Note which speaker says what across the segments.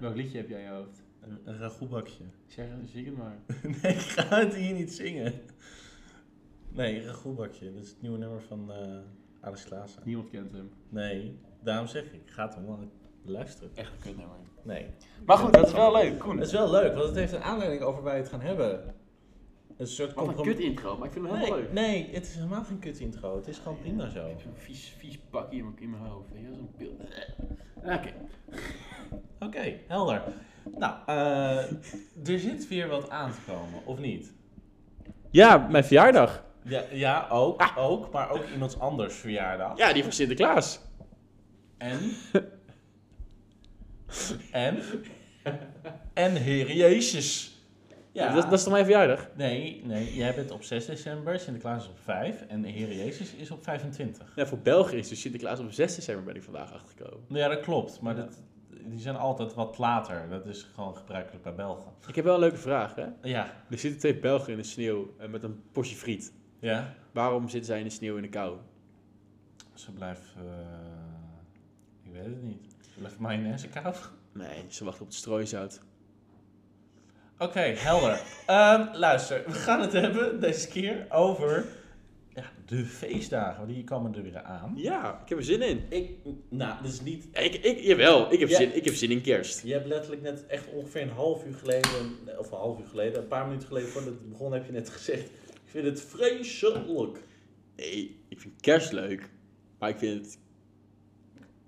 Speaker 1: Welk liedje heb jij in je hoofd?
Speaker 2: Een, een ragoutbakje.
Speaker 1: Zeg, zie het maar.
Speaker 2: nee, ik ga het hier niet zingen. Nee, een ragoutbakje. Dat is het nieuwe nummer van eh Alex Klaassen.
Speaker 1: Niemand kent hem.
Speaker 2: Nee, daarom zeg ik. Ga het hem wel luisteren.
Speaker 1: Echt een kutnummer.
Speaker 2: Nee.
Speaker 1: Maar goed, dat is wel leuk. Koen.
Speaker 2: Het is wel leuk, want het heeft een aanleiding over waar we het gaan hebben. Een soort
Speaker 1: Wat een
Speaker 2: compromis.
Speaker 1: kut intro, Oh, maar ik vind hem heel
Speaker 2: Nee,
Speaker 1: leuk.
Speaker 2: nee, het is helemaal geen kut intro. Het is gewoon prima zo.
Speaker 1: Ik heb zo'n vies, vies bakje in mijn- in mijn hoofd. Weet je, wel, zo'n pil. Oké.
Speaker 2: Oké, helder. Nou, eh, er zit weer wat aan te komen, of niet?
Speaker 3: Ja, mijn verjaardag.
Speaker 2: Ja, ja ook,
Speaker 1: Ah.
Speaker 2: ook, maar ook iemands anders verjaardag.
Speaker 3: Ja, die van Sinterklaas.
Speaker 2: En? en? En Heer Jezus. Ja,
Speaker 3: Dat, dat is toch mijn verjaardag?
Speaker 2: Nee, nee, jij bent op 6 december, Sinterklaas is op 5 en de Heer Jezus is op 25.
Speaker 3: Ja, voor België is dus Sinterklaas op 6 december ben ik vandaag achtergekomen.
Speaker 2: Nou Ja, dat klopt, maar
Speaker 3: Ja.
Speaker 2: dat, die zijn altijd wat later. Dat is gewoon gebruikelijk bij Belgen.
Speaker 3: Ik heb wel een leuke vraag, hè?
Speaker 2: Ja,
Speaker 3: Er zitten twee Belgen in de sneeuw eh, met een potje friet.
Speaker 2: ja.
Speaker 3: Waarom zitten zij in de sneeuw in de kou?
Speaker 2: Ze blijft, eh, ik weet het niet. Ze blijft mayonaise koud.
Speaker 3: Nee, ze wachten op het strooizout.
Speaker 2: Oké, helder. Ehm, luister, we gaan het hebben deze keer over ja, de feestdagen. want Die komen er weer aan.
Speaker 3: Ja, ik heb er zin in.
Speaker 2: Ik, nou, dit is niet...
Speaker 3: Ik, ik, jawel, ik heb,
Speaker 2: Ja.
Speaker 3: zin, ik heb zin in kerst.
Speaker 2: Je hebt letterlijk net echt ongeveer een half uur geleden, of een half uur geleden, een paar minuten geleden voordat het begon, heb je net gezegd, ik vind het vreselijk.
Speaker 3: Nee, ik vind kerst leuk. Maar ik vind het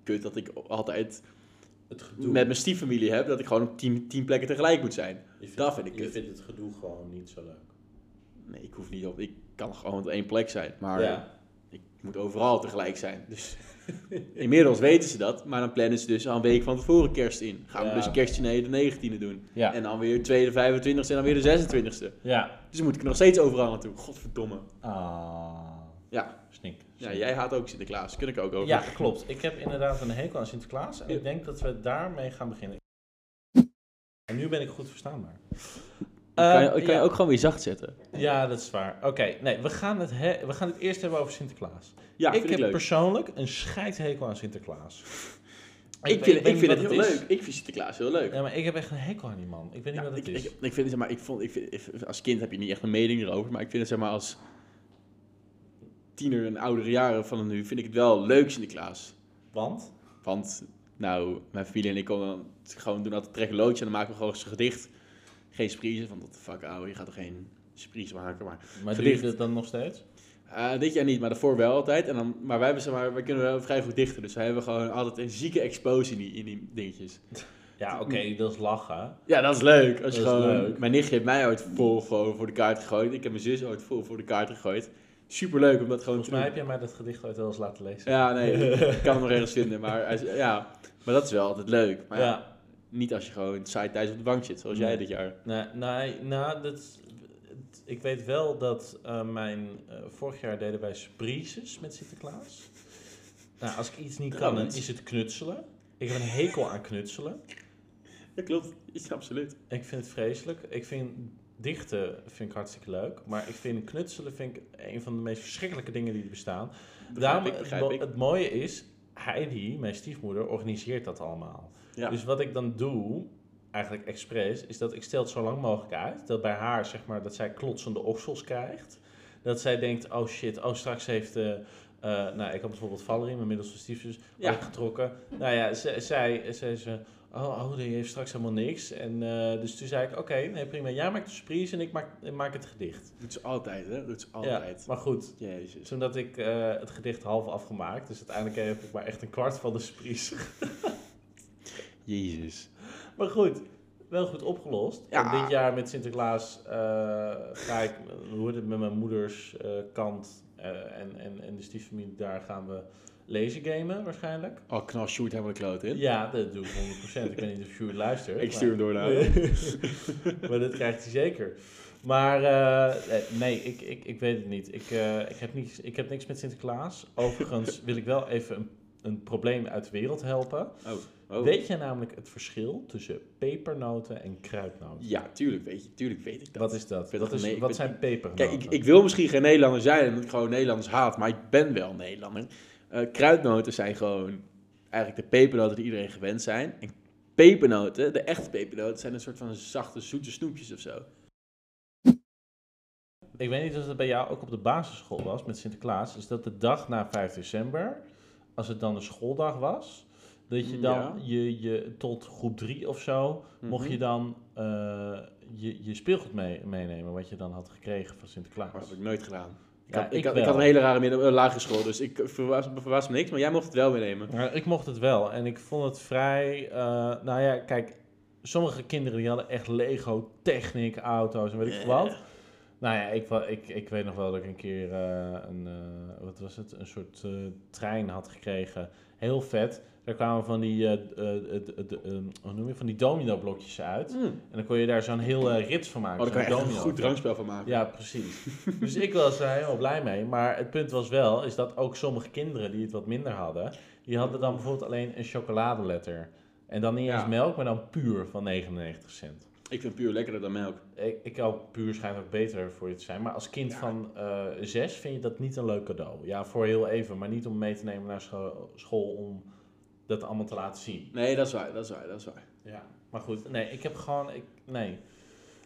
Speaker 3: kut dat ik altijd
Speaker 2: Het gedoe.
Speaker 3: met mijn stieffamilie heb dat ik gewoon op tien, tien plekken tegelijk moet zijn.
Speaker 2: je vindt,
Speaker 3: dat vind ik
Speaker 2: Je
Speaker 3: kut.
Speaker 2: vindt het gedoe gewoon niet zo leuk.
Speaker 3: Nee, ik hoef niet op. Ik kan gewoon op één plek zijn. Maar
Speaker 2: Ja.
Speaker 3: ik moet overal tegelijk zijn. Dus inmiddels weten ze dat. Maar dan plannen ze dus al een week van tevoren kerst in. Gaan
Speaker 2: Ja.
Speaker 3: we dus kerstdiner de 19e doen.
Speaker 2: Ja.
Speaker 3: En dan weer tweede 25e en dan weer de 26e.
Speaker 2: Ja.
Speaker 3: Dus dan moet ik nog steeds overal naartoe. Godverdomme.
Speaker 2: Ah.
Speaker 3: Ja.
Speaker 2: Snik.
Speaker 3: Ja, jij haat ook Sinterklaas. Kun ik ook over.
Speaker 2: Ja, klopt. Ik heb inderdaad een hekel aan Sinterklaas en ik denk dat we daarmee gaan beginnen. En nu ben ik goed verstaanbaar.
Speaker 3: kan je,
Speaker 2: Eh,
Speaker 3: kan je
Speaker 2: ja.
Speaker 3: ook gewoon weer zacht zetten.
Speaker 2: Ja, dat is waar. Oké, nee, we gaan, het he- we gaan het eerst hebben over Sinterklaas.
Speaker 3: Ja,
Speaker 2: ik
Speaker 3: vind
Speaker 2: heb
Speaker 3: ik leuk.
Speaker 2: persoonlijk een scheidhekel aan Sinterklaas.
Speaker 3: ik
Speaker 2: weet-
Speaker 3: vind, ik
Speaker 2: weet niet
Speaker 3: vind
Speaker 2: wat
Speaker 3: het heel
Speaker 2: is.
Speaker 3: leuk. Ik vind Sinterklaas heel leuk.
Speaker 2: Ja, maar ik heb echt een hekel aan die man. Ik weet niet
Speaker 3: Ja,
Speaker 2: wat het
Speaker 3: ik,
Speaker 2: is.
Speaker 3: ik, ik vind het, maar, ik vond, ik vind, ik- als kind heb je niet echt een mening erover, maar ik vind het zeg maar als tiener en oudere jaren van nu, vind ik het wel leuk Sinterklaas.
Speaker 2: Want?
Speaker 3: Want, nou, mijn familie en ik komen dan gewoon doen altijd trekken loodje en dan maken we gewoon eens een gedicht. Geen surprise, want what the fuck ouwe, je gaat toch geen surprise maken, maar...
Speaker 2: Maar doe je
Speaker 3: Gedicht.
Speaker 2: dat dan nog steeds?
Speaker 3: Eh, dit jaar niet, maar daarvoor wel altijd. En dan, maar wij hebben, zeg maar, wij kunnen wel vrij goed dichten, dus wij hebben gewoon altijd een zieke explosie in die, in die dingetjes.
Speaker 2: Ja, oké, dat is lachen.
Speaker 3: Ja, dat is leuk. Als je
Speaker 2: Dat is
Speaker 3: gewoon,
Speaker 2: leuk.
Speaker 3: Mijn nichtje heeft mij ooit vol gewoon voor de kaart gegooid. Ik heb mijn zus ooit vol voor de kaart gegooid. Superleuk om dat gewoon
Speaker 2: Volgens mij
Speaker 3: te
Speaker 2: heb
Speaker 3: doen.
Speaker 2: jij mij dat gedicht ooit wel eens laten lezen.
Speaker 3: Ja, nee, ik kan hem nog ergens vinden. Maar, hij is- ja. maar dat is wel altijd leuk. Maar ja, niet als je gewoon saai thuis op de bank zit, zoals jij
Speaker 2: Nee.
Speaker 3: dit jaar.
Speaker 2: Nee, nee, nou, dat, is- het- ik weet wel dat eh, mijn... eh, vorig jaar deden wij surprises met Sinterklaas. Nou, als ik iets niet kan, dan
Speaker 3: Trouwens.
Speaker 2: is het knutselen. Ik heb een hekel aan knutselen.
Speaker 3: Dat klopt, is absoluut.
Speaker 2: Ik vind het vreselijk. Ik vind dichten vind ik hartstikke leuk. Maar ik vind knutselen vind ik een van de meest verschrikkelijke dingen die er bestaan. Daarom,
Speaker 3: ik, begrijp
Speaker 2: het, mo-
Speaker 3: ik.
Speaker 2: het mooie is, Heidi, mijn stiefmoeder, organiseert dat allemaal.
Speaker 3: Ja.
Speaker 2: Dus wat ik dan doe, eigenlijk expres, is dat ik stel het zo lang mogelijk uit. Dat bij haar, zeg maar, dat zij klotsende oksels krijgt. Dat zij denkt, oh shit, oh straks heeft... eh, eh, nou, ik had bijvoorbeeld Valerie, mijn middelste stiefzus,
Speaker 3: Ja.
Speaker 2: had ik getrokken. Nou ja, zij, zij, zij ze, oh, oh, die heeft straks helemaal niks. En, eh, dus toen zei ik, oké, nee, prima, jij maakt de surprise en ik maak, ik maak het gedicht.
Speaker 3: Doet ze altijd, hè? Doet ze
Speaker 2: Ja,
Speaker 3: altijd.
Speaker 2: maar goed,
Speaker 3: Jezus.
Speaker 2: toen had ik eh, het gedicht half afgemaakt. Dus uiteindelijk heb ik maar echt een kwart van de surprise.
Speaker 3: Jezus.
Speaker 2: Maar goed, wel goed opgelost.
Speaker 3: Ja.
Speaker 2: En dit jaar met Sinterklaas eh, ga ik, eh, hoe heet het, met mijn moeders eh, kant eh, en, en, en de stieffamilie, daar gaan we lezen gamen waarschijnlijk.
Speaker 3: Oh, knal shoot helemaal de kloot in.
Speaker 2: Ja, dat doe ik 100%. ik weet niet of Sjoerd luistert.
Speaker 3: ik stuur hem door naar
Speaker 2: maar, maar dat krijgt hij zeker. Maar eh, eh, nee, ik, ik, ik weet het niet. Ik, eh, ik, heb niks, ik heb niks met Sinterklaas. Overigens wil ik wel even een, een probleem uit de wereld helpen.
Speaker 3: Oh, oh.
Speaker 2: Weet jij namelijk het verschil tussen pepernoten en kruidnoten?
Speaker 3: Ja, tuurlijk weet, je, tuurlijk weet ik dat.
Speaker 2: Wat is dat?
Speaker 3: Ik ben
Speaker 2: Wat,
Speaker 3: toch
Speaker 2: is,
Speaker 3: een- ik
Speaker 2: wat
Speaker 3: ben-
Speaker 2: zijn pepernoten?
Speaker 3: Kijk, ik, ik wil misschien geen Nederlander zijn omdat ik gewoon Nederlanders haat, maar ik ben wel Nederlander. Eh, kruidnoten zijn gewoon eigenlijk de pepernoten die iedereen gewend zijn. En pepernoten, de echte pepernoten, zijn een soort van zachte, zoete snoepjes of zo.
Speaker 2: Ik weet niet of het bij jou ook op de basisschool was met Sinterklaas. Is dat de dag na 5 december, als het dan de schooldag was, dat je
Speaker 3: Mm,
Speaker 2: dan
Speaker 3: ja. Mhm.
Speaker 2: je, je tot groep 3 of zo, mocht je dan eh, je, je speelgoed mee, meenemen wat je dan had gekregen van Sinterklaas.
Speaker 3: Maar dat heb ik nooit gedaan. Ik,
Speaker 2: Ja,
Speaker 3: had,
Speaker 2: ik
Speaker 3: ik, had,
Speaker 2: wel.
Speaker 3: ik had een hele rare midden, eh, lagere school, dus ik verbaas, verbaas me niks, maar jij mocht het wel meenemen.
Speaker 2: Maar ik mocht het wel en ik vond het vrij. eh, nou ja, kijk, sommige kinderen die hadden echt Lego, techniek, auto's en weet ik veel wat. Nou ja, ik, wa- ik, ik weet nog wel dat ik een keer eh, een, eh, wat was het? een soort eh, trein had gekregen. Heel vet. Daar kwamen van die, eh, eh, eh, eh, eh, hoe noem je, van die domino blokjes uit.
Speaker 3: Mm.
Speaker 2: En dan kon je daar zo'n heel eh, rits van
Speaker 3: Oh,
Speaker 2: maken.
Speaker 3: daar kan je
Speaker 2: zo'n
Speaker 3: echt een
Speaker 2: domino.
Speaker 3: goed drankspel van maken.
Speaker 2: Ja, precies. dus ik was er helemaal blij mee. Maar het punt was wel, is dat ook sommige kinderen die het wat minder hadden, die hadden dan bijvoorbeeld alleen een chocoladeletter. En dan niet eens
Speaker 3: Ja.
Speaker 2: melk, maar dan puur van 99 cent.
Speaker 3: Ik vind puur lekkerder dan melk.
Speaker 2: Ik, ik ook puur schijnt ook beter voor je te zijn. Maar als kind
Speaker 3: Ja.
Speaker 2: van eh, zes vind je dat niet een leuk cadeau. Ja, voor heel even, maar niet om mee te nemen naar scho- school om dat allemaal te laten zien.
Speaker 3: Nee, dat is waar, dat is waar, dat is waar.
Speaker 2: Ja. Maar goed, nee, ik heb gewoon, ik, nee.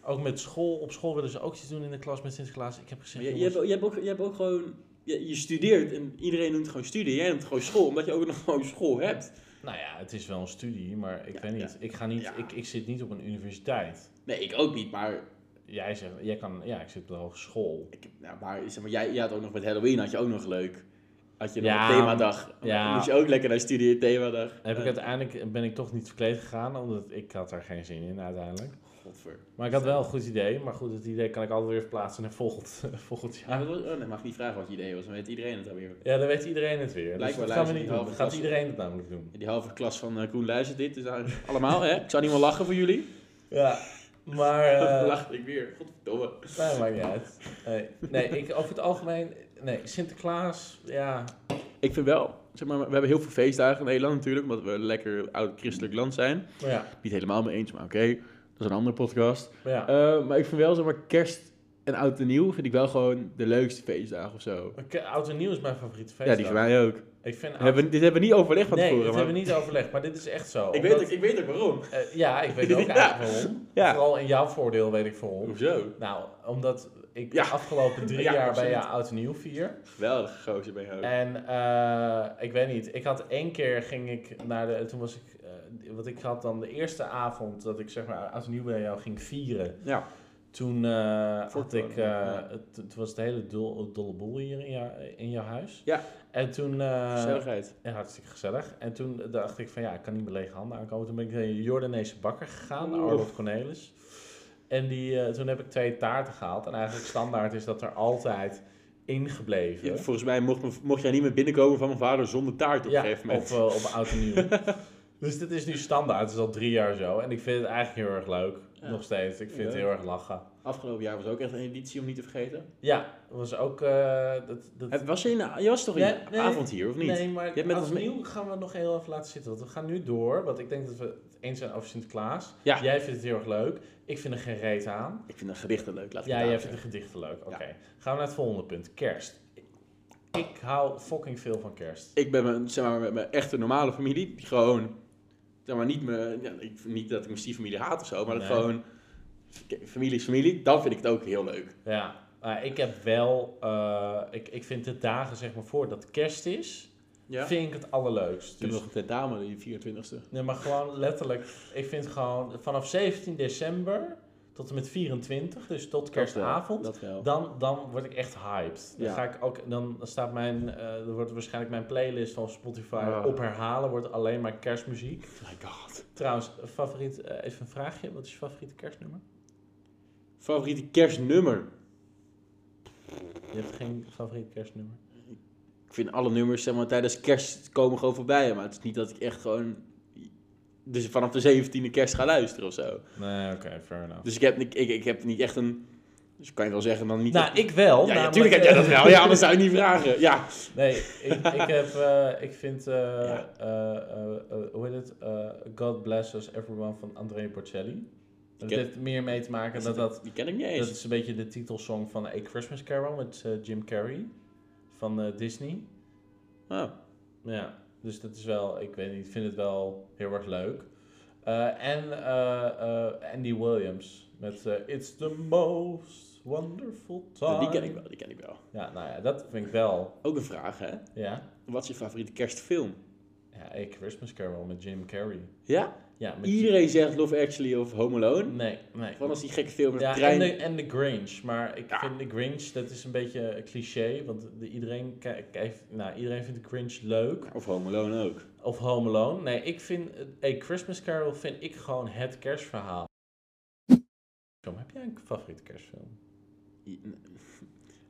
Speaker 2: Ook met school, op school willen ze ook iets doen in de klas met Sinterklaas. Ik heb
Speaker 3: Maar
Speaker 2: gezegd,
Speaker 3: je, je,
Speaker 2: jongens,
Speaker 3: hebt, ook- je, hebt ook, je hebt ook gewoon... Je, je studeert en iedereen noemt gewoon studie. Jij noemt gewoon school, omdat je ook nog gewoon school hebt.
Speaker 2: Nou ja, het is wel een studie, maar ik
Speaker 3: Ja,
Speaker 2: weet niet. Ik, ga niet
Speaker 3: Ja.
Speaker 2: ik, ik zit niet op een universiteit.
Speaker 3: Nee, ik ook niet, maar...
Speaker 2: Jij zegt, jij kan, ja, ik zit op de hogeschool.
Speaker 3: Ik, nou, maar, zeg maar jij, jij had ook nog met Halloween, had je ook nog leuk. Had je nog
Speaker 2: Ja,
Speaker 3: een themadag.
Speaker 2: ja.
Speaker 3: Moest je ook lekker naar studie, themadag.
Speaker 2: Heb ik
Speaker 3: Eh,
Speaker 2: uiteindelijk ben ik toch niet verkleed gegaan, omdat ik had daar geen zin in uiteindelijk.
Speaker 3: Godver.
Speaker 2: Maar ik had wel een goed idee, maar goed, het idee kan ik altijd weer verplaatsen naar volgend, volgend
Speaker 3: Ja,
Speaker 2: jaar.
Speaker 3: dat was, oh, nee, mag ik niet vragen wat je idee was, dan weet iedereen het alweer.
Speaker 2: Ja, dan weet iedereen het weer. Dus
Speaker 3: Blijkbaar
Speaker 2: dat gaan we
Speaker 3: luistert
Speaker 2: niet
Speaker 3: die
Speaker 2: doen.
Speaker 3: halve
Speaker 2: Dan gaat
Speaker 3: klas.
Speaker 2: iedereen het namelijk doen.
Speaker 3: Die halve klas van eh, Koen luistert dit, dus daar- allemaal hè? Ik zou niet meer lachen voor jullie.
Speaker 2: Ja, maar... eh,
Speaker 3: Dan lachte ik weer, godverdomme.
Speaker 2: Nee, maakt niet uit. Nee, nee ik, over het algemeen... Nee, Sinterklaas, ja...
Speaker 3: Ik vind wel, zeg maar, we hebben heel veel feestdagen in Nederland natuurlijk, omdat we een lekker oud christelijk land zijn.
Speaker 2: Maar ja,
Speaker 3: Niet helemaal mee eens, maar oké, dat is een andere podcast.
Speaker 2: maar ja.
Speaker 3: Eh, maar ik vind wel, zeg maar, kerst en oud en nieuw vind ik wel gewoon de leukste feestdagen of zo.
Speaker 2: Oké, Oud en nieuw is mijn favoriete feestdag.
Speaker 3: Ja, die van mij ook.
Speaker 2: Ik vind oud-
Speaker 3: Hebben, we- dit hebben we niet overlegd van
Speaker 2: nee,
Speaker 3: tevoren.
Speaker 2: dat
Speaker 3: maar-
Speaker 2: hebben we niet overlegd, maar dit is echt zo.
Speaker 3: ik, weet ook, ik weet ook waarom.
Speaker 2: ook... ja, ik weet ook
Speaker 3: Ja.
Speaker 2: eigenlijk waarom.
Speaker 3: Ja.
Speaker 2: Vooral in jouw voordeel weet ik waarom.
Speaker 3: Hoezo?
Speaker 2: Nou, omdat ik
Speaker 3: Ja.
Speaker 2: de afgelopen drie
Speaker 3: Ja,
Speaker 2: jaar bij
Speaker 3: absoluut.
Speaker 2: jou oud en nieuw vier.
Speaker 3: Geweldig gozer ben je ook.
Speaker 2: En eh, ik weet niet, ik had één keer ging ik naar de... Toen was ik... eh, want ik had dan de eerste avond dat ik zeg maar oud en nieuw bij jou ging vieren.
Speaker 3: Ja.
Speaker 2: Toen eh, had
Speaker 3: Voortkomen,
Speaker 2: ik,
Speaker 3: ja.
Speaker 2: eh, het, het was het hele dol, dolle boel hier in, jou, in jouw huis.
Speaker 3: Ja.
Speaker 2: En toen... eh,
Speaker 3: Gezelligheid.
Speaker 2: Ja, hartstikke gezellig. En toen dacht ik van ja, ik kan niet met lege handen aankomen. Toen ben ik naar de Jordaanese bakker gegaan,
Speaker 3: Oeh.
Speaker 2: Arnold Cornelis. En die, eh, toen heb ik twee taarten gehaald. En eigenlijk standaard is dat er altijd ingebleven.
Speaker 3: Ja, volgens mij mocht, me- mocht jij niet meer binnenkomen van mijn vader zonder taart op een gegeven moment.
Speaker 2: op, eh, op oud en nieuw. dus dit is nu standaard. Het is al drie jaar zo. En ik vind het eigenlijk heel erg leuk.
Speaker 3: Ja.
Speaker 2: Nog steeds. Ik vind het
Speaker 3: Ja.
Speaker 2: heel erg lachen.
Speaker 3: Afgelopen jaar was ook echt een editie om niet te vergeten.
Speaker 2: Ja, was ook... eh, dat, dat...
Speaker 3: Heb- Was je, in, je was toch in
Speaker 2: Nee, nee.
Speaker 3: avond hier, of niet?
Speaker 2: Nee, maar
Speaker 3: hebt met
Speaker 2: als
Speaker 3: ons mee-
Speaker 2: nieuw gaan we nog heel even laten zitten. Want we gaan nu door. Want ik denk dat we het eens zijn over Sinterklaas.
Speaker 3: Ja.
Speaker 2: Jij vindt het heel erg leuk. Ik vind er geen reet aan.
Speaker 3: Ik vind dat gedichten leuk, laat ik
Speaker 2: ja,
Speaker 3: het
Speaker 2: jij
Speaker 3: daar
Speaker 2: vindt de gedichten leuk. Oké.
Speaker 3: Ja.
Speaker 2: Gaan we naar het volgende punt. Kerst. Ik hou fucking veel van kerst.
Speaker 3: zeggen. Ik ben mijn, zeg maar, met mijn echte normale familie, die gewoon... Zeg maar, niet, mijn, ja, ik, niet dat ik mijn stiefamilie haat of zo, maar
Speaker 2: Nee.
Speaker 3: dat gewoon... Familie is familie, dan vind ik het ook heel leuk.
Speaker 2: Ja. Maar ik heb wel... eh, ik, ik vind de dagen zeg maar voor dat kerst is...
Speaker 3: Ja.
Speaker 2: Vind ik het allerleukst.
Speaker 3: Toen
Speaker 2: Dus,
Speaker 3: nog een tentamen, die 24ste.
Speaker 2: Nee, maar gewoon letterlijk... Ik vind gewoon vanaf 17 december... Tot en met 24, dus tot kerstavond.
Speaker 3: Dat wel.
Speaker 2: Dan, dan word ik echt hyped. Dan
Speaker 3: Ja.
Speaker 2: ga ik ook, dan staat mijn, eh, er wordt waarschijnlijk mijn playlist van Spotify
Speaker 3: Ah.
Speaker 2: op herhalen, wordt alleen maar kerstmuziek.
Speaker 3: Oh My god.
Speaker 2: Trouwens, favoriet, eh, even een vraagje, wat is je favoriete kerstnummer?
Speaker 3: Favoriete kerstnummer?
Speaker 2: Je hebt geen favoriet kerstnummer.
Speaker 3: Ik vind alle nummers zeg maar, tijdens kerst komen gewoon voorbij. Maar het is niet dat ik echt gewoon dus vanaf de 17e kerst ga luisteren of zo.
Speaker 2: Nee, oké, fair enough.
Speaker 3: Dus ik heb, ik, ik, ik heb niet echt een... Dus kan je wel zeggen dan niet...
Speaker 2: nou,
Speaker 3: echt-
Speaker 2: ik wel.
Speaker 3: ja,
Speaker 2: namelijk,
Speaker 3: natuurlijk heb jij dat
Speaker 2: eh,
Speaker 3: wel. Ja, anders zou je niet vragen. Ja.
Speaker 2: Nee, ik, ik heb, eh, ik vind, eh,
Speaker 3: Ja.
Speaker 2: eh, eh, eh, hoe heet het, Eh, God Bless Us Everyone van André Bocelli. Dat
Speaker 3: ken-
Speaker 2: heeft meer mee te maken dat dat
Speaker 3: Die ken ik niet eens.
Speaker 2: Dat is een beetje de titelsong van A Christmas Carol met eh, Jim Carrey van eh, Disney.
Speaker 3: Oh,
Speaker 2: Ja, dus dat is wel, ik weet niet, ik vind het wel heel erg leuk. Eh, en eh, eh, Andy Williams met eh, It's the most wonderful time.
Speaker 3: Die ken ik wel, die ken ik wel.
Speaker 2: Ja, nou ja, dat vind ik wel.
Speaker 3: Ook een vraag, hè?
Speaker 2: Ja,
Speaker 3: Wat is je favoriete kerstfilm?
Speaker 2: ja A Christmas Carol met Jim Carrey.
Speaker 3: Ja?
Speaker 2: Ja, met
Speaker 3: Iedereen zegt Love Actually of Home Alone.
Speaker 2: Nee, nee.
Speaker 3: Van als die gekke film met de
Speaker 2: Ja, en
Speaker 3: trein.
Speaker 2: de, en de Grinch. Maar ik
Speaker 3: Ja.
Speaker 2: vind de Grinch, dat is een beetje een cliché. Want de- iedereen, ki- kijkt- nou, iedereen vindt de Grinch leuk.
Speaker 3: Of Home Alone ook.
Speaker 2: Of Home Alone. Nee, ik vind eh, A Christmas Carol vind ik gewoon het kerstverhaal. Tom, heb jij een favoriete kerstfilm?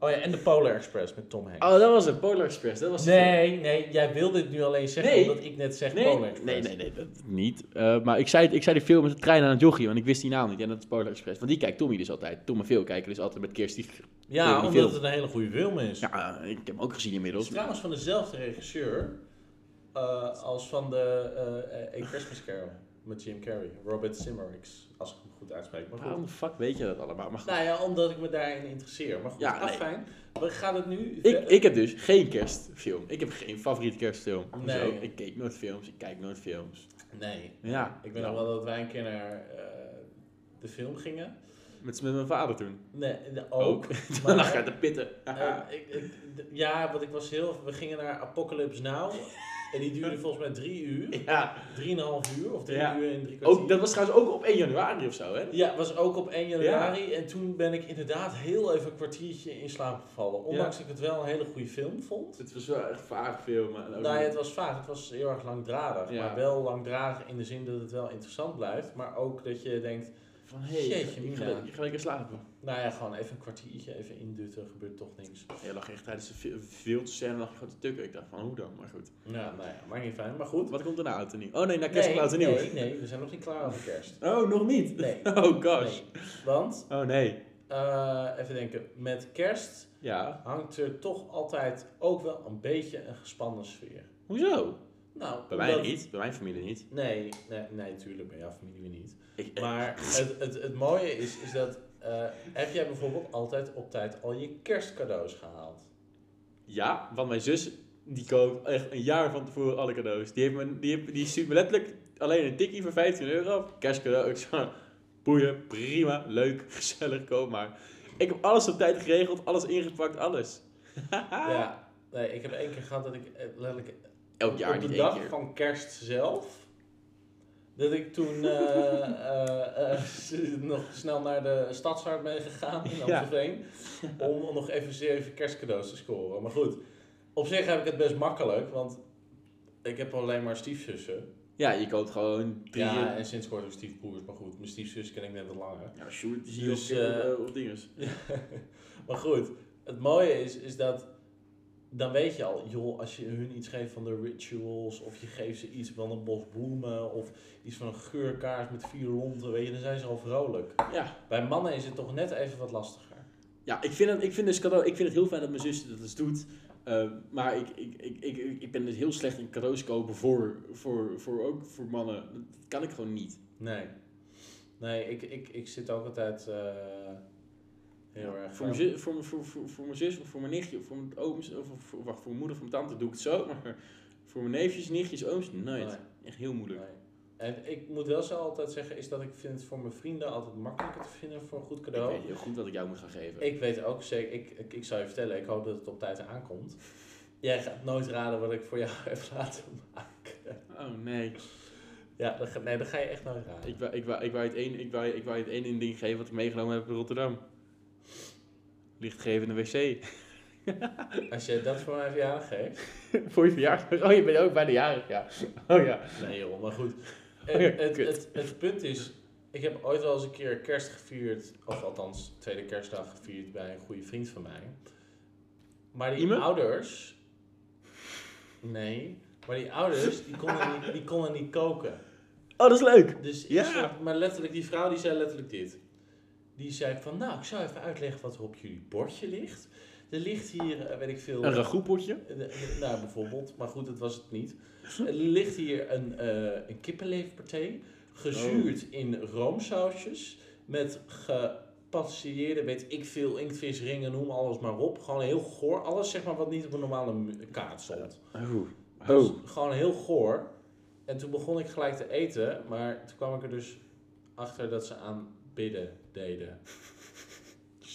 Speaker 2: Oh ja, en de Polar Express met Tom Hanks.
Speaker 3: Oh, dat was het. Polar Express. Dat was de
Speaker 2: nee, nee, jij wilde dit nu alleen zeggen
Speaker 3: Nee.
Speaker 2: omdat ik net zeg
Speaker 3: Nee,
Speaker 2: Polar
Speaker 3: nee,
Speaker 2: Express.
Speaker 3: nee, nee, dat niet. Eh, maar ik zei, het- ik zei die film met de trein aan het jochie, want ik wist die naam niet. En dat is Polar Express. Want die kijkt Tommy dus altijd. Tom en Phil kijken dus altijd met Kerst. Die...
Speaker 2: Ja,
Speaker 3: die
Speaker 2: omdat
Speaker 3: film.
Speaker 2: het een hele goede film is.
Speaker 3: Ja, ik heb hem ook gezien
Speaker 2: Het is
Speaker 3: inmiddels.
Speaker 2: trouwens van dezelfde regisseur eh, als van de eh, eh, A Christmas Carol met Jim Carrey. Robert Zimmerix, als ik hem goed uitspreek. Maar
Speaker 3: Waarom
Speaker 2: goed.
Speaker 3: de fuck weet je dat allemaal? Maar goed.
Speaker 2: Nou ja, omdat ik me daarin interesseer. Maar goed,
Speaker 3: Ja, nee.
Speaker 2: afijn. We gaan het nu...
Speaker 3: ik, ik heb dus geen kerstfilm. Ik heb geen favoriete kerstfilm.
Speaker 2: Nee.
Speaker 3: Zo, ik keek nooit films, ik kijk nooit films.
Speaker 2: Nee.
Speaker 3: Ja,
Speaker 2: Ik weet nog wel dat wij een keer naar eh, de film gingen.
Speaker 3: Met, met mijn vader toen.
Speaker 2: Nee, de- ook.
Speaker 3: Dan lag
Speaker 2: Maar-
Speaker 3: ik uit de pitten.
Speaker 2: Eh, ik, ik- d- ja, want ik was heel... We gingen naar Apocalypse Now. en die duurde volgens mij drie uur.
Speaker 3: ja,
Speaker 2: Drieënhalf uur of drie
Speaker 3: Ja.
Speaker 2: uur en drie kwartier.
Speaker 3: ook, dat was trouwens ook op 1 januari of zo, hè?
Speaker 2: Ja, was ook op 1 januari. En toen ben ik inderdaad heel even een kwartiertje in slaap gevallen. Ondanks dat ik het wel een hele goede film vond.
Speaker 3: Het was wel echt vaag film. Maar ook
Speaker 2: Nou ja,
Speaker 3: niet-
Speaker 2: het was vaag. Het was heel erg langdradig.
Speaker 3: Ja.
Speaker 2: Maar wel langdradig in de zin dat het wel interessant blijft. Maar ook dat je denkt,
Speaker 3: Van hey,
Speaker 2: Jeetje,
Speaker 3: ik, ga,
Speaker 2: Mina.
Speaker 3: ik ga lekker slapen.
Speaker 2: nou ja, gewoon even een kwartiertje, even indutten, gebeurt toch niks.
Speaker 3: Je lag echt tijdens de vi- filmscène lag je gewoon te tukken. Ik dacht van, hoe dan? Maar goed.
Speaker 2: Nou, nou ja, maakt niet fijn. Maar goed.
Speaker 3: Wat komt er na oud en nieuw? Oh nee, na kerst komt oud en nieuw.
Speaker 2: nee, nee, we zijn nog niet klaar over kerst.
Speaker 3: Oh, nog niet?
Speaker 2: Nee.
Speaker 3: Oh gosh.
Speaker 2: Nee. Want,
Speaker 3: Oh nee.
Speaker 2: eh, even denken, met kerst
Speaker 3: Ja.
Speaker 2: hangt er toch altijd ook wel een beetje een gespannen sfeer.
Speaker 3: Hoezo?
Speaker 2: Nou,
Speaker 3: Bij mij
Speaker 2: omdat-
Speaker 3: niet. Bij mijn familie niet.
Speaker 2: Nee, nee, nee, tuurlijk, bij jouw familie weer niet.
Speaker 3: Ik,
Speaker 2: Maar het, het, het mooie is, is dat, eh, heb jij bijvoorbeeld altijd op tijd al je kerstcadeaus gehaald?
Speaker 3: Ja, want mijn zus die koopt echt een jaar van tevoren alle cadeaus. Die, heeft me, die, heeft- die stuurt me letterlijk alleen een tikkie voor 15 euro. Kerstcadeau. Ik zeg, "Nou, boeien, prima, leuk, gezellig, koop maar. Ik heb alles op tijd geregeld, alles ingepakt, alles.
Speaker 2: Ja. Nee, ik heb één keer gehad dat ik eh, letterlijk
Speaker 3: Elk jaar
Speaker 2: op de
Speaker 3: niet één
Speaker 2: dag
Speaker 3: keer.
Speaker 2: van kerst zelf, dat ik toen eh, eh, eh, nog snel naar de stadsart ben gegaan in
Speaker 3: Ja.
Speaker 2: Amstelveen. Om nog even zeven kerstcadeaus te scoren. Maar goed, op zich heb ik het best makkelijk, want ik heb alleen maar stiefzussen.
Speaker 3: Ja, je koopt gewoon drie...
Speaker 2: Ja,
Speaker 3: Ja,
Speaker 2: en sinds kort ook stiefbroers, maar goed, mijn stiefzus ken ik net wat langer.
Speaker 3: ja shoot, die
Speaker 2: Dus,
Speaker 3: zie je op-
Speaker 2: eh,
Speaker 3: op, op dinges.
Speaker 2: maar goed, het mooie is, is dat dan weet je al, joh, als je hun iets geeft van de rituals, of je geeft ze iets van een bos bloemen, of iets van een geurkaars met vier ronde, weet je, dan zijn ze al vrolijk.
Speaker 3: Ja.
Speaker 2: Bij mannen is het toch net even wat lastiger.
Speaker 3: Ja, ik vind, het, ik vind dus cadeau, ik vind het heel fijn dat mijn zus dat dus doet. Eh, maar ik, ik, ik, ik, ik ben dus heel slecht in cadeaus kopen voor, voor, voor, ook voor mannen. Dat kan ik gewoon niet.
Speaker 2: Nee. Nee, ik, ik, ik zit ook altijd eh, heel erg...
Speaker 3: Voor mijn, zus, voor, mijn- voor, voor, voor mijn zus of voor mijn nichtje of voor mijn ooms of voor, wacht, voor mijn moeder of mijn tante doe ik het zo. Maar voor mijn neefjes, nichtjes, ooms, nooit.
Speaker 2: Nee.
Speaker 3: Echt heel moeilijk.
Speaker 2: Nee. En ik moet wel zo altijd zeggen, is dat ik vind het voor mijn vrienden altijd makkelijker te vinden voor een goed
Speaker 3: Ik
Speaker 2: cadeau.
Speaker 3: weet heel goed wat ik jou moet gaan geven.
Speaker 2: Ik weet ook zeker, ik, ik, ik zou je vertellen, ik hoop dat het op tijd aankomt. Jij gaat nooit raden wat ik voor jou heb laten maken.
Speaker 3: Oh nee.
Speaker 2: Ja, dat ga, nee, dat ga je echt nooit raden.
Speaker 3: Ik wou, ik wou, ik wou, het één, ik wou, ik wou het één ding geven wat ik meegenomen heb in Rotterdam. Lichtgevende wc.
Speaker 2: Als je dat voor mijn verjaardag geeft.
Speaker 3: Voor je verjaardag. Oh, je bent ook bijna jarig, ja. Oh ja.
Speaker 2: Nee joh, maar goed.
Speaker 3: Oh ja,
Speaker 2: Het, het,
Speaker 3: kut.
Speaker 2: het, het punt is, ik heb ooit wel eens een keer kerst gevierd, of althans tweede kerstdag gevierd bij een goede vriend van mij. Maar die
Speaker 3: Iemer?
Speaker 2: ouders... Nee, maar die ouders, die konden niet, die konden niet koken.
Speaker 3: Oh, dat is leuk.
Speaker 2: Dus
Speaker 3: Ja.
Speaker 2: ik zat- maar letterlijk, die vrouw die zei letterlijk dit. Die zei van, nou, ik zou even uitleggen wat er op jullie bordje ligt. Er ligt hier, eh, weet ik veel...
Speaker 3: Een ragoepotje.
Speaker 2: eh, eh, nou, bijvoorbeeld, maar goed, dat was het niet. Er ligt hier een, eh een kippenleverpartij, gezuurd in roomsausjes, met gepasseerde, weet ik veel, inktvisringen, noem alles maar op. Gewoon heel goor, alles zeg maar wat niet op een normale mu- kaart stond.
Speaker 3: Oh.
Speaker 2: Dus gewoon heel goor. En toen begon ik gelijk te eten, maar toen kwam ik er dus achter dat ze aan bidden deden.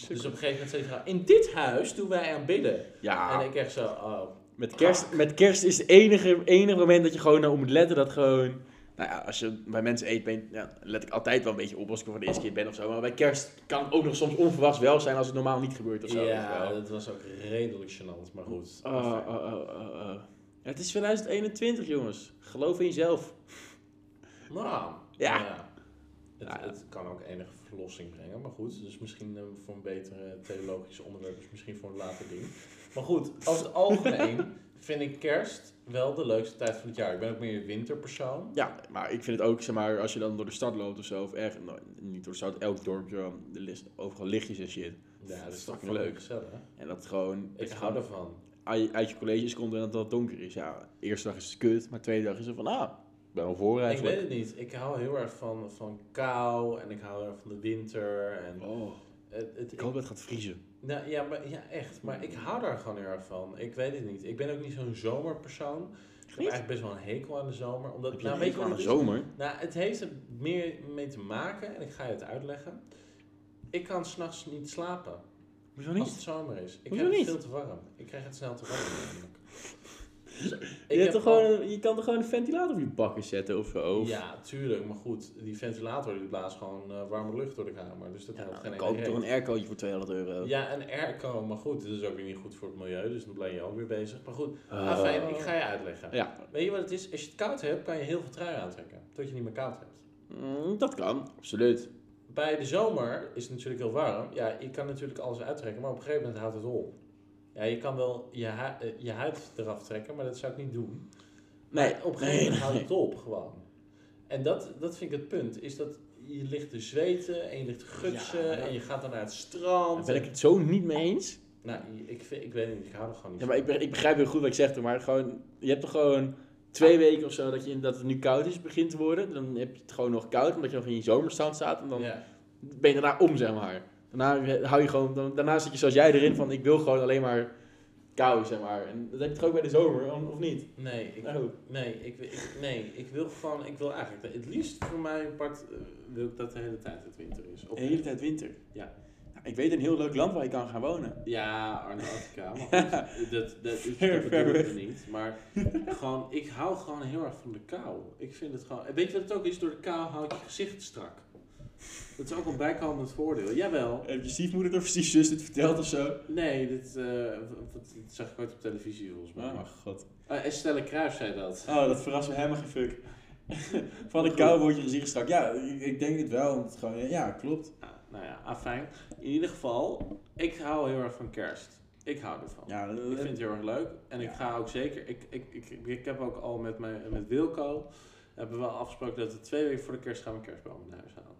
Speaker 2: Dus op een gegeven moment zei ze, in dit huis doen wij aan bidden.
Speaker 3: Ja,
Speaker 2: En ik echt zo, oh.
Speaker 3: met kerst, met kerst is het enige, enige moment dat je gewoon nou, op moet letten dat gewoon... Nou ja, als je bij mensen eet, ben, ja, let ik altijd wel een beetje op als ik er voor de eerste keer ben of zo. Maar bij kerst kan het ook nog soms onverwachts wel zijn als het normaal niet gebeurt of zo. weet je
Speaker 2: Ja,
Speaker 3: wel.
Speaker 2: dat was ook redelijk gênant, maar goed.
Speaker 3: Oh, oh, oh, oh, oh. Het is 2021, jongens. Geloof in jezelf.
Speaker 2: Nou,
Speaker 3: Ja. Nou
Speaker 2: Het,
Speaker 3: Ja.
Speaker 2: het kan ook enige verlossing brengen, maar goed. Dus misschien eh, voor een betere theologische onderwerp, is misschien voor een later ding. Maar goed, over het algemeen vind ik kerst wel de leukste tijd van het jaar. Ik ben ook meer een winterpersoon.
Speaker 3: Ja, maar ik vind het ook, zeg maar, als je dan door de stad loopt of zo, of erg, nou, niet door de stad, elk dorpje, dan er is overal lichtjes en shit.
Speaker 2: Ja, dat is toch
Speaker 3: Fucking
Speaker 2: wel
Speaker 3: leuk.
Speaker 2: leuk. Gezellig.
Speaker 3: En dat gewoon,
Speaker 2: Ik hou ervan.
Speaker 3: uit, uit je colleges komt en dat het donker is. Ja, de eerste dag is het kut, maar de tweede dag is het van, ah, ik ben al voor
Speaker 2: Ik weet
Speaker 3: eigenlijk.
Speaker 2: het niet. Ik hou heel erg van, van kou en ik hou heel erg van de winter. En
Speaker 3: Oh,
Speaker 2: het, het,
Speaker 3: ik hoop dat het gaat vriezen.
Speaker 2: Nou ja, maar, ja, echt. Maar ik hou daar gewoon heel erg van. Ik weet het niet. Ik ben ook niet zo'n zomerpersoon. Ik heb
Speaker 3: Niet?
Speaker 2: eigenlijk best wel een hekel aan de zomer. Omdat,
Speaker 3: Heb je
Speaker 2: nou,
Speaker 3: een
Speaker 2: weet
Speaker 3: hekel
Speaker 2: je wat
Speaker 3: aan de
Speaker 2: het is?
Speaker 3: zomer?
Speaker 2: Nou, het heeft er meer mee te maken, en ik ga je het uitleggen. Ik kan s'nachts niet slapen
Speaker 3: Hoezo
Speaker 2: als het zomer is. Ik
Speaker 3: Hoezo
Speaker 2: heb het
Speaker 3: niet?
Speaker 2: veel te warm. Ik krijg het snel te warm namelijk. Dus ik
Speaker 3: Je, hebt
Speaker 2: heb
Speaker 3: toch
Speaker 2: al-
Speaker 3: gewoon een- je kan er gewoon een ventilator op je bakken zetten of zo? Of,
Speaker 2: Ja, tuurlijk. Maar goed, die ventilator die blaast gewoon eh, warme lucht door de kamer. Dus dat
Speaker 3: Ja, nou,
Speaker 2: helpt geen
Speaker 3: dan
Speaker 2: ene
Speaker 3: koop je
Speaker 2: reet.
Speaker 3: toch eh. een aircootje voor 200 euro?
Speaker 2: Ja, en airco, maar goed, dit is ook weer niet goed voor het milieu, dus dan blijf je ook weer bezig. Maar goed,
Speaker 3: Ah.
Speaker 2: afijn, ik ga je uitleggen.
Speaker 3: Ja,
Speaker 2: Ehm, Weet je wat het is? Als je het koud hebt, kan je heel veel trui aantrekken, tot je niet meer koud hebt.
Speaker 3: Mm, dat kan, absoluut.
Speaker 2: Bij de zomer is het natuurlijk heel warm. Ja, je kan natuurlijk alles uittrekken, maar op een gegeven moment houdt het op. Ja, je kan wel je, hu- eh, je huid eraf trekken, maar dat zou ik niet doen.
Speaker 3: Nee,
Speaker 2: Maar op een gegeven
Speaker 3: nee,
Speaker 2: moment houdt
Speaker 3: nee.
Speaker 2: het op, gewoon. En dat, dat vind ik het punt, is dat je ligt te zweten en je ligt te gutsen
Speaker 3: Ja, ja.
Speaker 2: en je gaat dan naar het strand.
Speaker 3: Daar ben ik het zo niet mee eens.
Speaker 2: Nou, ik, vind- ik weet niet, ik hou er gewoon niet
Speaker 3: Ja, maar ik,
Speaker 2: van.
Speaker 3: be- ik begrijp heel goed wat ik zeg, maar gewoon, je hebt toch gewoon twee weken of zo dat, je, dat het nu koud is, begint te worden. Dan heb je het gewoon nog koud, omdat je nog in je zomerstand staat. En dan
Speaker 2: Ja.
Speaker 3: ben je daarna om, zeg maar. Daarna, hou je gewoon, dan, daarna zit je zoals jij erin van, ik wil gewoon alleen maar kou, zeg maar. En dat heb je toch ook bij de zomer, of of niet?
Speaker 2: Nee, ik,
Speaker 3: Nou,
Speaker 2: nee, ik, ik- nee, ik wil gewoon, ik wil eigenlijk, dat- het liefst voor mij part, eh, wil ik dat de hele tijd het winter is. Of-
Speaker 3: tijd winter. Nou,
Speaker 2: Ja.
Speaker 3: Ik weet een heel leuk land waar je kan gaan wonen.
Speaker 2: Ja, Arnautica, maar goed, dat, dat, is
Speaker 3: Fair,
Speaker 2: dat bedoel ik
Speaker 3: fair.
Speaker 2: niet. Maar gewoon, ik hou gewoon heel erg van de kou. Ik vind het gewoon, en weet je wat het ook is? Door de kou hou ik je gezicht strak. Dat is ook een bijkomend voordeel. Jawel.
Speaker 3: Heb je stiefmoeder of stiefzus dit verteld of zo?
Speaker 2: Nee, dit, eh, w- wat- dit zag ik ooit op televisie volgens mij.
Speaker 3: Oh, god.
Speaker 2: Eh, Estelle Kruijf zei dat.
Speaker 3: Oh, dat verrast me helemaal geen fuck. Van de
Speaker 2: Goed.
Speaker 3: kou wordt je gezicht strak. Ja, ik, ik denk het wel. Want het gewoon, ja, klopt.
Speaker 2: Nou, nou ja, afijn. In ieder geval, ik hou heel erg van kerst. Ik hou ervan.
Speaker 3: Ja, eh, dat-
Speaker 2: Ik vind het heel erg leuk. En
Speaker 3: Ja.
Speaker 2: ik ga ook zeker... Ik, ik, ik, ik heb ook al met, mijn, met Wilco... Hebben we wel afgesproken dat we twee weken voor de kerst gaan we een kerstboom naar huis halen.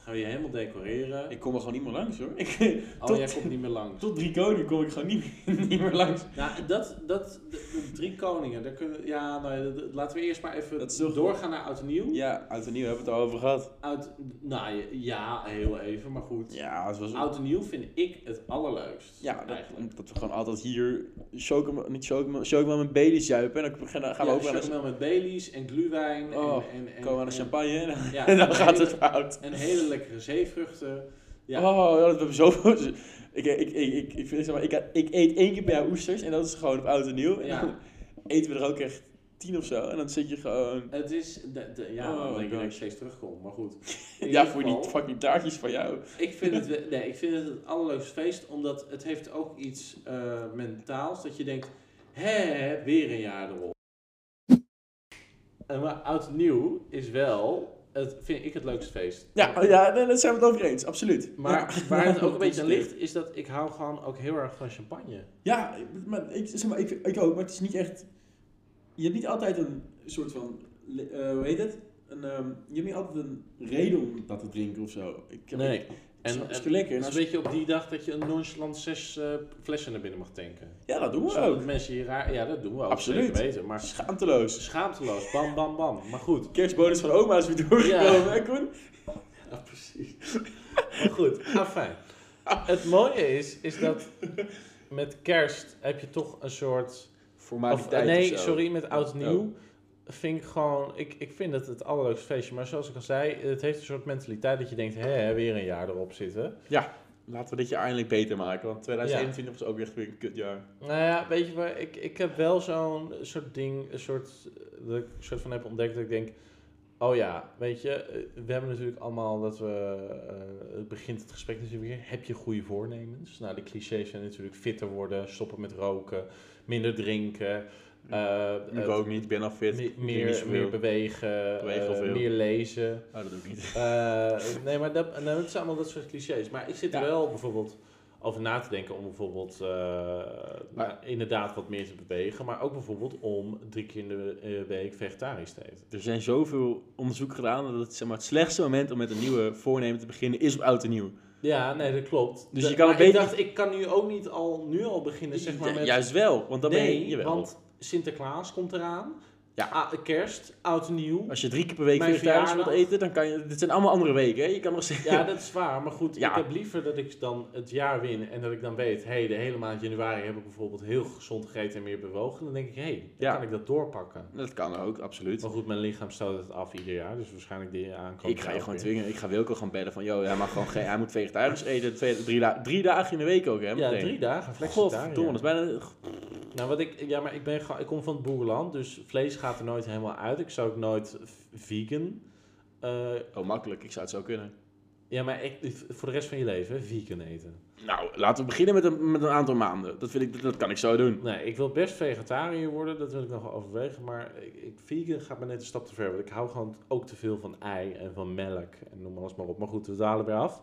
Speaker 2: Gaan we je helemaal decoreren.
Speaker 3: ik kom er gewoon niet meer langs hoor. Ik,
Speaker 2: oh,
Speaker 3: tot-
Speaker 2: jij komt niet meer langs.
Speaker 3: tot drie koningen kom ik gewoon niet, meer- niet meer langs.
Speaker 2: Nou, dat... dat de, de drie koningen. Daar kunnen, ja, nou, ja, dat- dat- laten we eerst maar even
Speaker 3: Dat is toch-
Speaker 2: doorgaan naar Oud en Nieuw.
Speaker 3: Ja, uit en nieuw hebben we het al over gehad.
Speaker 2: Oud, nou ja, ja, heel even, maar goed.
Speaker 3: Ja, het was
Speaker 2: Oud en Nieuw vind ik het allerleukst.
Speaker 3: Ja, dat,
Speaker 2: eigenlijk.
Speaker 3: omdat we gewoon altijd hier chocomel, niet chocomel, chocomel met baby zuipen. En dan gaan we
Speaker 2: ja,
Speaker 3: ook wel eens
Speaker 2: chocomel met Baileys en gluwijn.
Speaker 3: Oh,
Speaker 2: en, en, en,
Speaker 3: komen aan de
Speaker 2: en-
Speaker 3: champagne en dan,
Speaker 2: Ja,
Speaker 3: en dan
Speaker 2: en
Speaker 3: gaat het
Speaker 2: hele-
Speaker 3: fout.
Speaker 2: En hele lekkere zeevruchten. Ja.
Speaker 3: Oh, ja, dat hebben we zoveel... Ik, ik, ik, ik, ik, vind, zeg maar, ik, ik eet één keer per jaar oesters en dat is gewoon op oud en nieuw. En
Speaker 2: Ja.
Speaker 3: dan eten we er ook echt tien of zo. En dan zit je gewoon...
Speaker 2: Het is, de, de- ja,
Speaker 3: Oh,
Speaker 2: dan denk ik dat ik
Speaker 3: gosh.
Speaker 2: steeds terugkom, maar goed. In
Speaker 3: Ja,
Speaker 2: ieder
Speaker 3: voor die
Speaker 2: geval,
Speaker 3: fucking taartjes van jou.
Speaker 2: Ik vind, het, we- nee, ik vind het het allerleukste feest, omdat het heeft ook iets eh, mentaals. Dat je denkt, hè, weer een jaar erop. En maar oud en nieuw is wel, het, vind ik het leukste feest.
Speaker 3: Ja, ja nee, daar zijn we het over eens, absoluut.
Speaker 2: Maar
Speaker 3: Ja.
Speaker 2: waar het ook een beetje aan
Speaker 3: Absoluut.
Speaker 2: ligt, is dat ik hou gewoon ook heel erg van champagne.
Speaker 3: Ja, maar ik, zeg maar, ik, ik ook, maar het is niet echt... Je hebt niet altijd een soort van... le- eh, hoe heet het? Een, ehm, je hebt niet altijd een reden om dat te drinken of zo. Ik,
Speaker 2: Nee.
Speaker 3: ik-
Speaker 2: En,
Speaker 3: Snap, is
Speaker 2: en
Speaker 3: toch lekker?
Speaker 2: het
Speaker 3: Nou,
Speaker 2: is een beetje op die dag dat je een nonchalant zes eh, flessen naar binnen mag tanken.
Speaker 3: ja, dat doen we
Speaker 2: Zodat
Speaker 3: ook.
Speaker 2: mensen hier raar... Ja, dat doen we ook.
Speaker 3: Absoluut.
Speaker 2: zeker weten. Maar
Speaker 3: Schaamteloos.
Speaker 2: schaamteloos. Bam, bam, bam. Maar goed.
Speaker 3: Kerstbonus van oma is weer doorgekomen,
Speaker 2: Ja.
Speaker 3: hè Koen?
Speaker 2: Ja, precies. maar goed. Afijn. Het mooie is, is dat met kerst heb je toch een soort... Of,
Speaker 3: Formaliteit
Speaker 2: eh, nee,
Speaker 3: of zo. Oh.
Speaker 2: sorry, met oud en nieuw. vind ik gewoon, ik, ik vind het het allerleukste feestje. Maar zoals ik al zei, het heeft een soort mentaliteit dat je denkt, hè, weer een jaar erop zitten.
Speaker 3: Laten we dit jaar eindelijk beter maken, want 2021 was ook echt weer een kutjaar.
Speaker 2: Nou ja, weet je waar, ik, ik heb wel zo'n soort ding, een soort, eh, dat ik een soort van heb ontdekt dat ik denk, oh ja, weet je, eh, we hebben natuurlijk allemaal dat we, eh, het begint het gesprek natuurlijk weer, heb je goede voornemens? Nou, de clichés zijn natuurlijk fitter worden, stoppen met roken, minder drinken. eh,
Speaker 3: Ik
Speaker 2: eh,
Speaker 3: ook niet, ik ben al fit.
Speaker 2: me-
Speaker 3: ik doe niet
Speaker 2: meer,
Speaker 3: zoveel.
Speaker 2: meer bewegen,
Speaker 3: Bewegen
Speaker 2: eh,
Speaker 3: veel.
Speaker 2: meer lezen.
Speaker 3: Oh, dat doe ik niet.
Speaker 2: Eh, nee, maar dat, nou, het zijn allemaal dat soort clichés. Maar ik zit er
Speaker 3: Ja.
Speaker 2: wel bijvoorbeeld over na te denken om bijvoorbeeld eh, nou, inderdaad wat meer te bewegen. Maar ook bijvoorbeeld om drie keer in de eh, week vegetarisch te eten.
Speaker 3: Er zijn zoveel onderzoek gedaan dat het, zeg maar, het slechtste moment om met een nieuwe voornemen te beginnen is op oud en nieuw.
Speaker 2: Ja, nee, dat klopt.
Speaker 3: Dus
Speaker 2: Da-
Speaker 3: je kan
Speaker 2: maar
Speaker 3: een beetje-
Speaker 2: Ik dacht, ik kan nu ook niet al, nu al beginnen Dus zeg maar
Speaker 3: Ju-
Speaker 2: met...
Speaker 3: Juist wel, want dan ben
Speaker 2: nee,
Speaker 3: je... Jawel.
Speaker 2: want Sinterklaas komt eraan.
Speaker 3: Ja.
Speaker 2: A- kerst, oud en nieuw.
Speaker 3: Als je drie keer per week
Speaker 2: Mijn
Speaker 3: vegetarisch wilt
Speaker 2: verjaardag.
Speaker 3: eten, dan kan je... Dit zijn allemaal andere weken, hè? Je kan nog steeds...
Speaker 2: Ja, dat is waar. Maar goed,
Speaker 3: Ja.
Speaker 2: ik heb liever dat ik dan het jaar win en dat ik dan weet, hé, hey, de hele maand januari heb ik bijvoorbeeld heel gezond gegeten en meer bewogen. Dan denk ik, hé, hey, dan
Speaker 3: Ja.
Speaker 2: kan ik dat doorpakken.
Speaker 3: Dat kan ook, absoluut.
Speaker 2: Maar goed, mijn lichaam stoot het af ieder jaar, dus waarschijnlijk die aankomt.
Speaker 3: Ik ga je gewoon dwingen. Ik ga Wilco gewoon bellen van, joh, hij mag gewoon geen... Hij moet vegetarisch eten, twee, drie, da- drie dagen in de week ook, hè?
Speaker 2: Ja,
Speaker 3: meteen.
Speaker 2: drie dagen
Speaker 3: Godverdomme,
Speaker 2: flexitariën.
Speaker 3: dat is bijna...
Speaker 2: Nou, wat ik, ja, maar ik, ben, gewoon- ik kom van het boerenland, dus vlees gaat er nooit helemaal uit. Ik zou ook nooit v- vegan. eh,
Speaker 3: Oh, makkelijk. Ik zou het zo kunnen.
Speaker 2: ja, maar echt, voor de rest van je leven, hè, vegan eten.
Speaker 3: Nou, laten we beginnen met een, met een aantal maanden. Dat, vind ik, dat, dat kan ik zo doen.
Speaker 2: Nee, ik wil best vegetariër worden, dat wil ik nog wel overwegen. Maar ik, ik, vegan gaat me net een stap te ver. Want ik hou gewoon ook te veel van ei en van melk en noem alles maar op. Maar goed, we dalen weer af.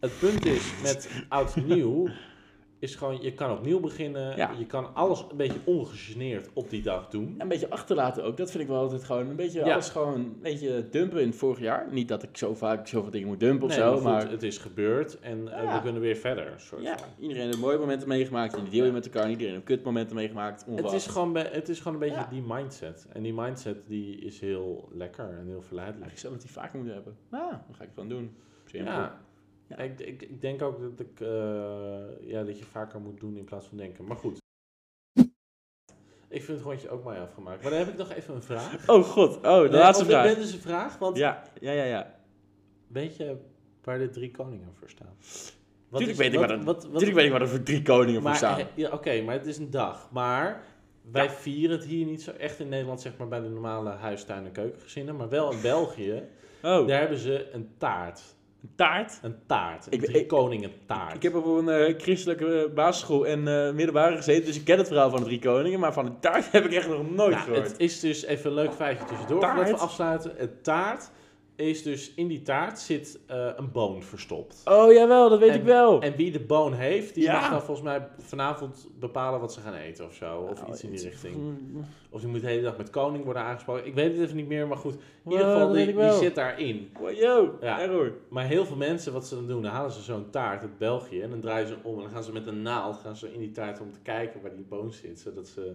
Speaker 2: Het punt is, met oud en nieuw, is gewoon, je kan opnieuw beginnen.
Speaker 3: Ja.
Speaker 2: Je kan alles een beetje ongegeneerd op die dag doen.
Speaker 3: Nou, Een beetje achterlaten ook. Dat vind ik wel altijd gewoon een beetje
Speaker 2: Ja.
Speaker 3: alles gewoon een beetje dumpen in het vorig jaar. Niet dat ik zo vaak zoveel dingen moet dumpen of
Speaker 2: Nee,
Speaker 3: zo,
Speaker 2: maar goed,
Speaker 3: maar...
Speaker 2: het is gebeurd en eh,
Speaker 3: Ja.
Speaker 2: we kunnen weer verder. een Soort
Speaker 3: Ja,
Speaker 2: van.
Speaker 3: iedereen heeft mooie momenten meegemaakt en die deel je met elkaar. En iedereen heeft kutmomenten meegemaakt.
Speaker 2: Het
Speaker 3: onverwacht.
Speaker 2: is, gewoon, be- het is gewoon een beetje
Speaker 3: Ja.
Speaker 2: die mindset. En die mindset die is heel lekker en heel verleidelijk.
Speaker 3: Eigenlijk zou dat die vaker moeten hebben. Nou, dan ga ik het gewoon doen. Simpel.
Speaker 2: Ja.
Speaker 3: Ja.
Speaker 2: Ik, ik, ik denk ook dat, ik, eh, ja, dat je vaker moet doen in plaats van denken. Maar goed. Ik vind het rondje ook maar afgemaakt. Maar dan heb ik nog even een vraag. Eh,
Speaker 3: Oh god, oh, de laatste vraag.
Speaker 2: Dat is dus een vraag, want
Speaker 3: Ja, ja, ja, ja.
Speaker 2: weet je waar de drie koningen voor staan? Wat
Speaker 3: Tuurlijk weet ik
Speaker 2: wat-
Speaker 3: waar dat-
Speaker 2: wat- wat-
Speaker 3: Natuurlijk weet ik waar er voor drie koningen voor
Speaker 2: maar,
Speaker 3: staan.
Speaker 2: eh, Ja, Oké, maar het is een dag. Maar wij vieren het hier niet zo echt in Nederland, zeg maar bij de normale huis, tuin en keukengezinnen. Maar wel in België,
Speaker 3: Oh,
Speaker 2: daar hebben ze een taart.
Speaker 3: een taart.
Speaker 2: Een taart. Een
Speaker 3: Ik-
Speaker 2: drie
Speaker 3: ik-
Speaker 2: koningen taart.
Speaker 3: Ik heb op een eh, christelijke eh, basisschool en eh, middelbare gezeten, dus ik ken het verhaal van de drie koningen, maar van de taart heb ik echt nog nooit
Speaker 2: Nou,
Speaker 3: gehoord.
Speaker 2: het is dus even een leuk feitje tussendoor
Speaker 3: Taart?
Speaker 2: voordat we afsluiten. Een taart is dus in die taart zit eh, een boon verstopt.
Speaker 3: Oh jawel, dat weet
Speaker 2: En-
Speaker 3: ik wel.
Speaker 2: En wie de boon heeft, die
Speaker 3: Oh. Ja.
Speaker 2: mag dan volgens mij vanavond bepalen wat ze gaan eten of zo. Of
Speaker 3: Nou,
Speaker 2: iets in die
Speaker 3: het-
Speaker 2: richting. Of die moet de hele dag met koning worden aangesproken. Ik weet het even niet meer, maar goed. In ieder
Speaker 3: Wow,
Speaker 2: geval,
Speaker 3: Eh, dat
Speaker 2: die,
Speaker 3: weet ik
Speaker 2: die
Speaker 3: wel.
Speaker 2: zit daarin.
Speaker 3: Wow, yo,
Speaker 2: Ja.
Speaker 3: error.
Speaker 2: Maar heel veel mensen, wat ze dan doen, dan halen ze zo'n taart uit België. En dan draaien ze hem om en dan gaan ze met een naald gaan ze in die taart om te kijken waar die boon zit. Zodat ze,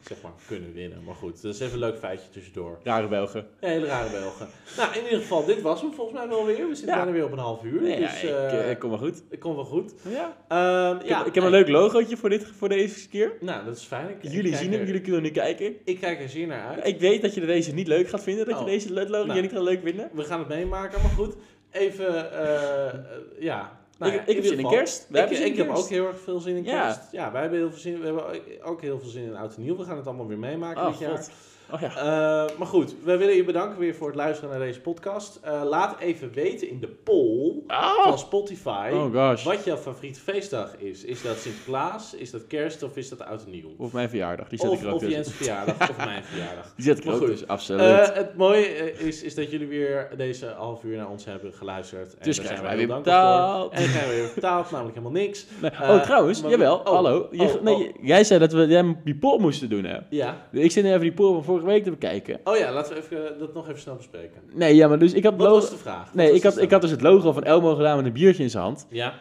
Speaker 2: zeg maar, kunnen winnen. Maar goed, dat is even een leuk feitje tussendoor.
Speaker 3: Rare Belgen.
Speaker 2: Ja, hele rare Belgen. Nou, in ieder geval, dit was hem volgens mij wel weer. We zitten
Speaker 3: Ja.
Speaker 2: bijna weer op een half uur.
Speaker 3: Nee,
Speaker 2: dus
Speaker 3: ja, ik,
Speaker 2: eh,
Speaker 3: eh,
Speaker 2: ik,
Speaker 3: kom maar goed.
Speaker 2: kom wel goed.
Speaker 3: Ja.
Speaker 2: Ehm,
Speaker 3: Ik,
Speaker 2: ja,
Speaker 3: heb, ik heb een
Speaker 2: nee.
Speaker 3: leuk logootje voor, dit, voor deze keer.
Speaker 2: Nou, dat is fijn. Ik, ik
Speaker 3: Jullie
Speaker 2: kijk
Speaker 3: zien hem,
Speaker 2: er-
Speaker 3: jullie kunnen nu kijken.
Speaker 2: Ik kijk er zeer naar uit.
Speaker 3: Ik weet dat je deze niet leuk gaat vinden, dat
Speaker 2: Oh.
Speaker 3: je deze le- logo
Speaker 2: Nou.
Speaker 3: niet gaat leuk vinden.
Speaker 2: We gaan het meemaken, maar goed. Even, eh, eh, ja. Nou
Speaker 3: ik
Speaker 2: ja,
Speaker 3: ik heb
Speaker 2: ieder
Speaker 3: zin in
Speaker 2: geval.
Speaker 3: kerst. We
Speaker 2: Ik,
Speaker 3: hebben zin in
Speaker 2: ik heb
Speaker 3: kerst.
Speaker 2: ook heel erg veel zin in
Speaker 3: Ja.
Speaker 2: kerst. Ja, wij hebben heel veel zin. We hebben ook heel veel zin in oud en nieuw. We gaan het allemaal weer meemaken dit
Speaker 3: Oh,
Speaker 2: jaar.
Speaker 3: god. Oh ja.
Speaker 2: Eh, maar goed, we willen je bedanken weer voor het luisteren naar deze podcast. Eh, laat even weten in de poll van Spotify.
Speaker 3: Oh gosh.
Speaker 2: Wat jouw favoriete feestdag is. Is dat Sinterklaas, is dat kerst of is dat oud en nieuw?
Speaker 3: Of mijn verjaardag, die zet ik
Speaker 2: Of,
Speaker 3: er ook
Speaker 2: of
Speaker 3: tussen.
Speaker 2: Jens verjaardag of mijn verjaardag.
Speaker 3: Die zet ik er
Speaker 2: Maar
Speaker 3: ook
Speaker 2: goed.
Speaker 3: tussen, absoluut.
Speaker 2: Eh, het mooie eh, is, is dat jullie weer deze half uur naar ons hebben geluisterd. En
Speaker 3: Dus
Speaker 2: daar
Speaker 3: krijgen
Speaker 2: zijn
Speaker 3: wij
Speaker 2: wij heel
Speaker 3: weer
Speaker 2: dankbaar
Speaker 3: betaald.
Speaker 2: voor. En krijgen we weer betaald, namelijk helemaal niks.
Speaker 3: Nee,
Speaker 2: eh,
Speaker 3: oh, trouwens,
Speaker 2: maar-
Speaker 3: jawel,
Speaker 2: oh,
Speaker 3: hallo. Je-
Speaker 2: oh,
Speaker 3: nee,
Speaker 2: oh.
Speaker 3: je- Jij zei dat we jij die poll moesten doen, hè?
Speaker 2: Ja.
Speaker 3: Ik zit nu even die poll van vorige week te bekijken.
Speaker 2: Oh ja, laten we even, eh, dat nog even snel bespreken.
Speaker 3: Nee, ja, maar dus ik had...
Speaker 2: Wat
Speaker 3: lo-
Speaker 2: was de vraag? Wat
Speaker 3: Nee,
Speaker 2: was
Speaker 3: ik
Speaker 2: de
Speaker 3: had,
Speaker 2: stem?
Speaker 3: ik had dus het logo van Elmo gedaan met een biertje in zijn hand.
Speaker 2: Ja,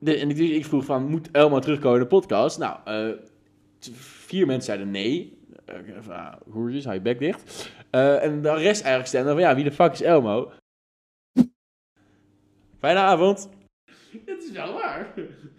Speaker 3: De, en ik, dus ik vroeg van, moet Elmo terugkomen in de podcast? Nou, eh, t- vier mensen zeiden nee. Eh, Van, ah, Hoertjes, hou je bek dicht. Eh, en de rest eigenlijk stemde van, ja, wie de fuck is Elmo? Fijne avond.
Speaker 1: Het is wel waar.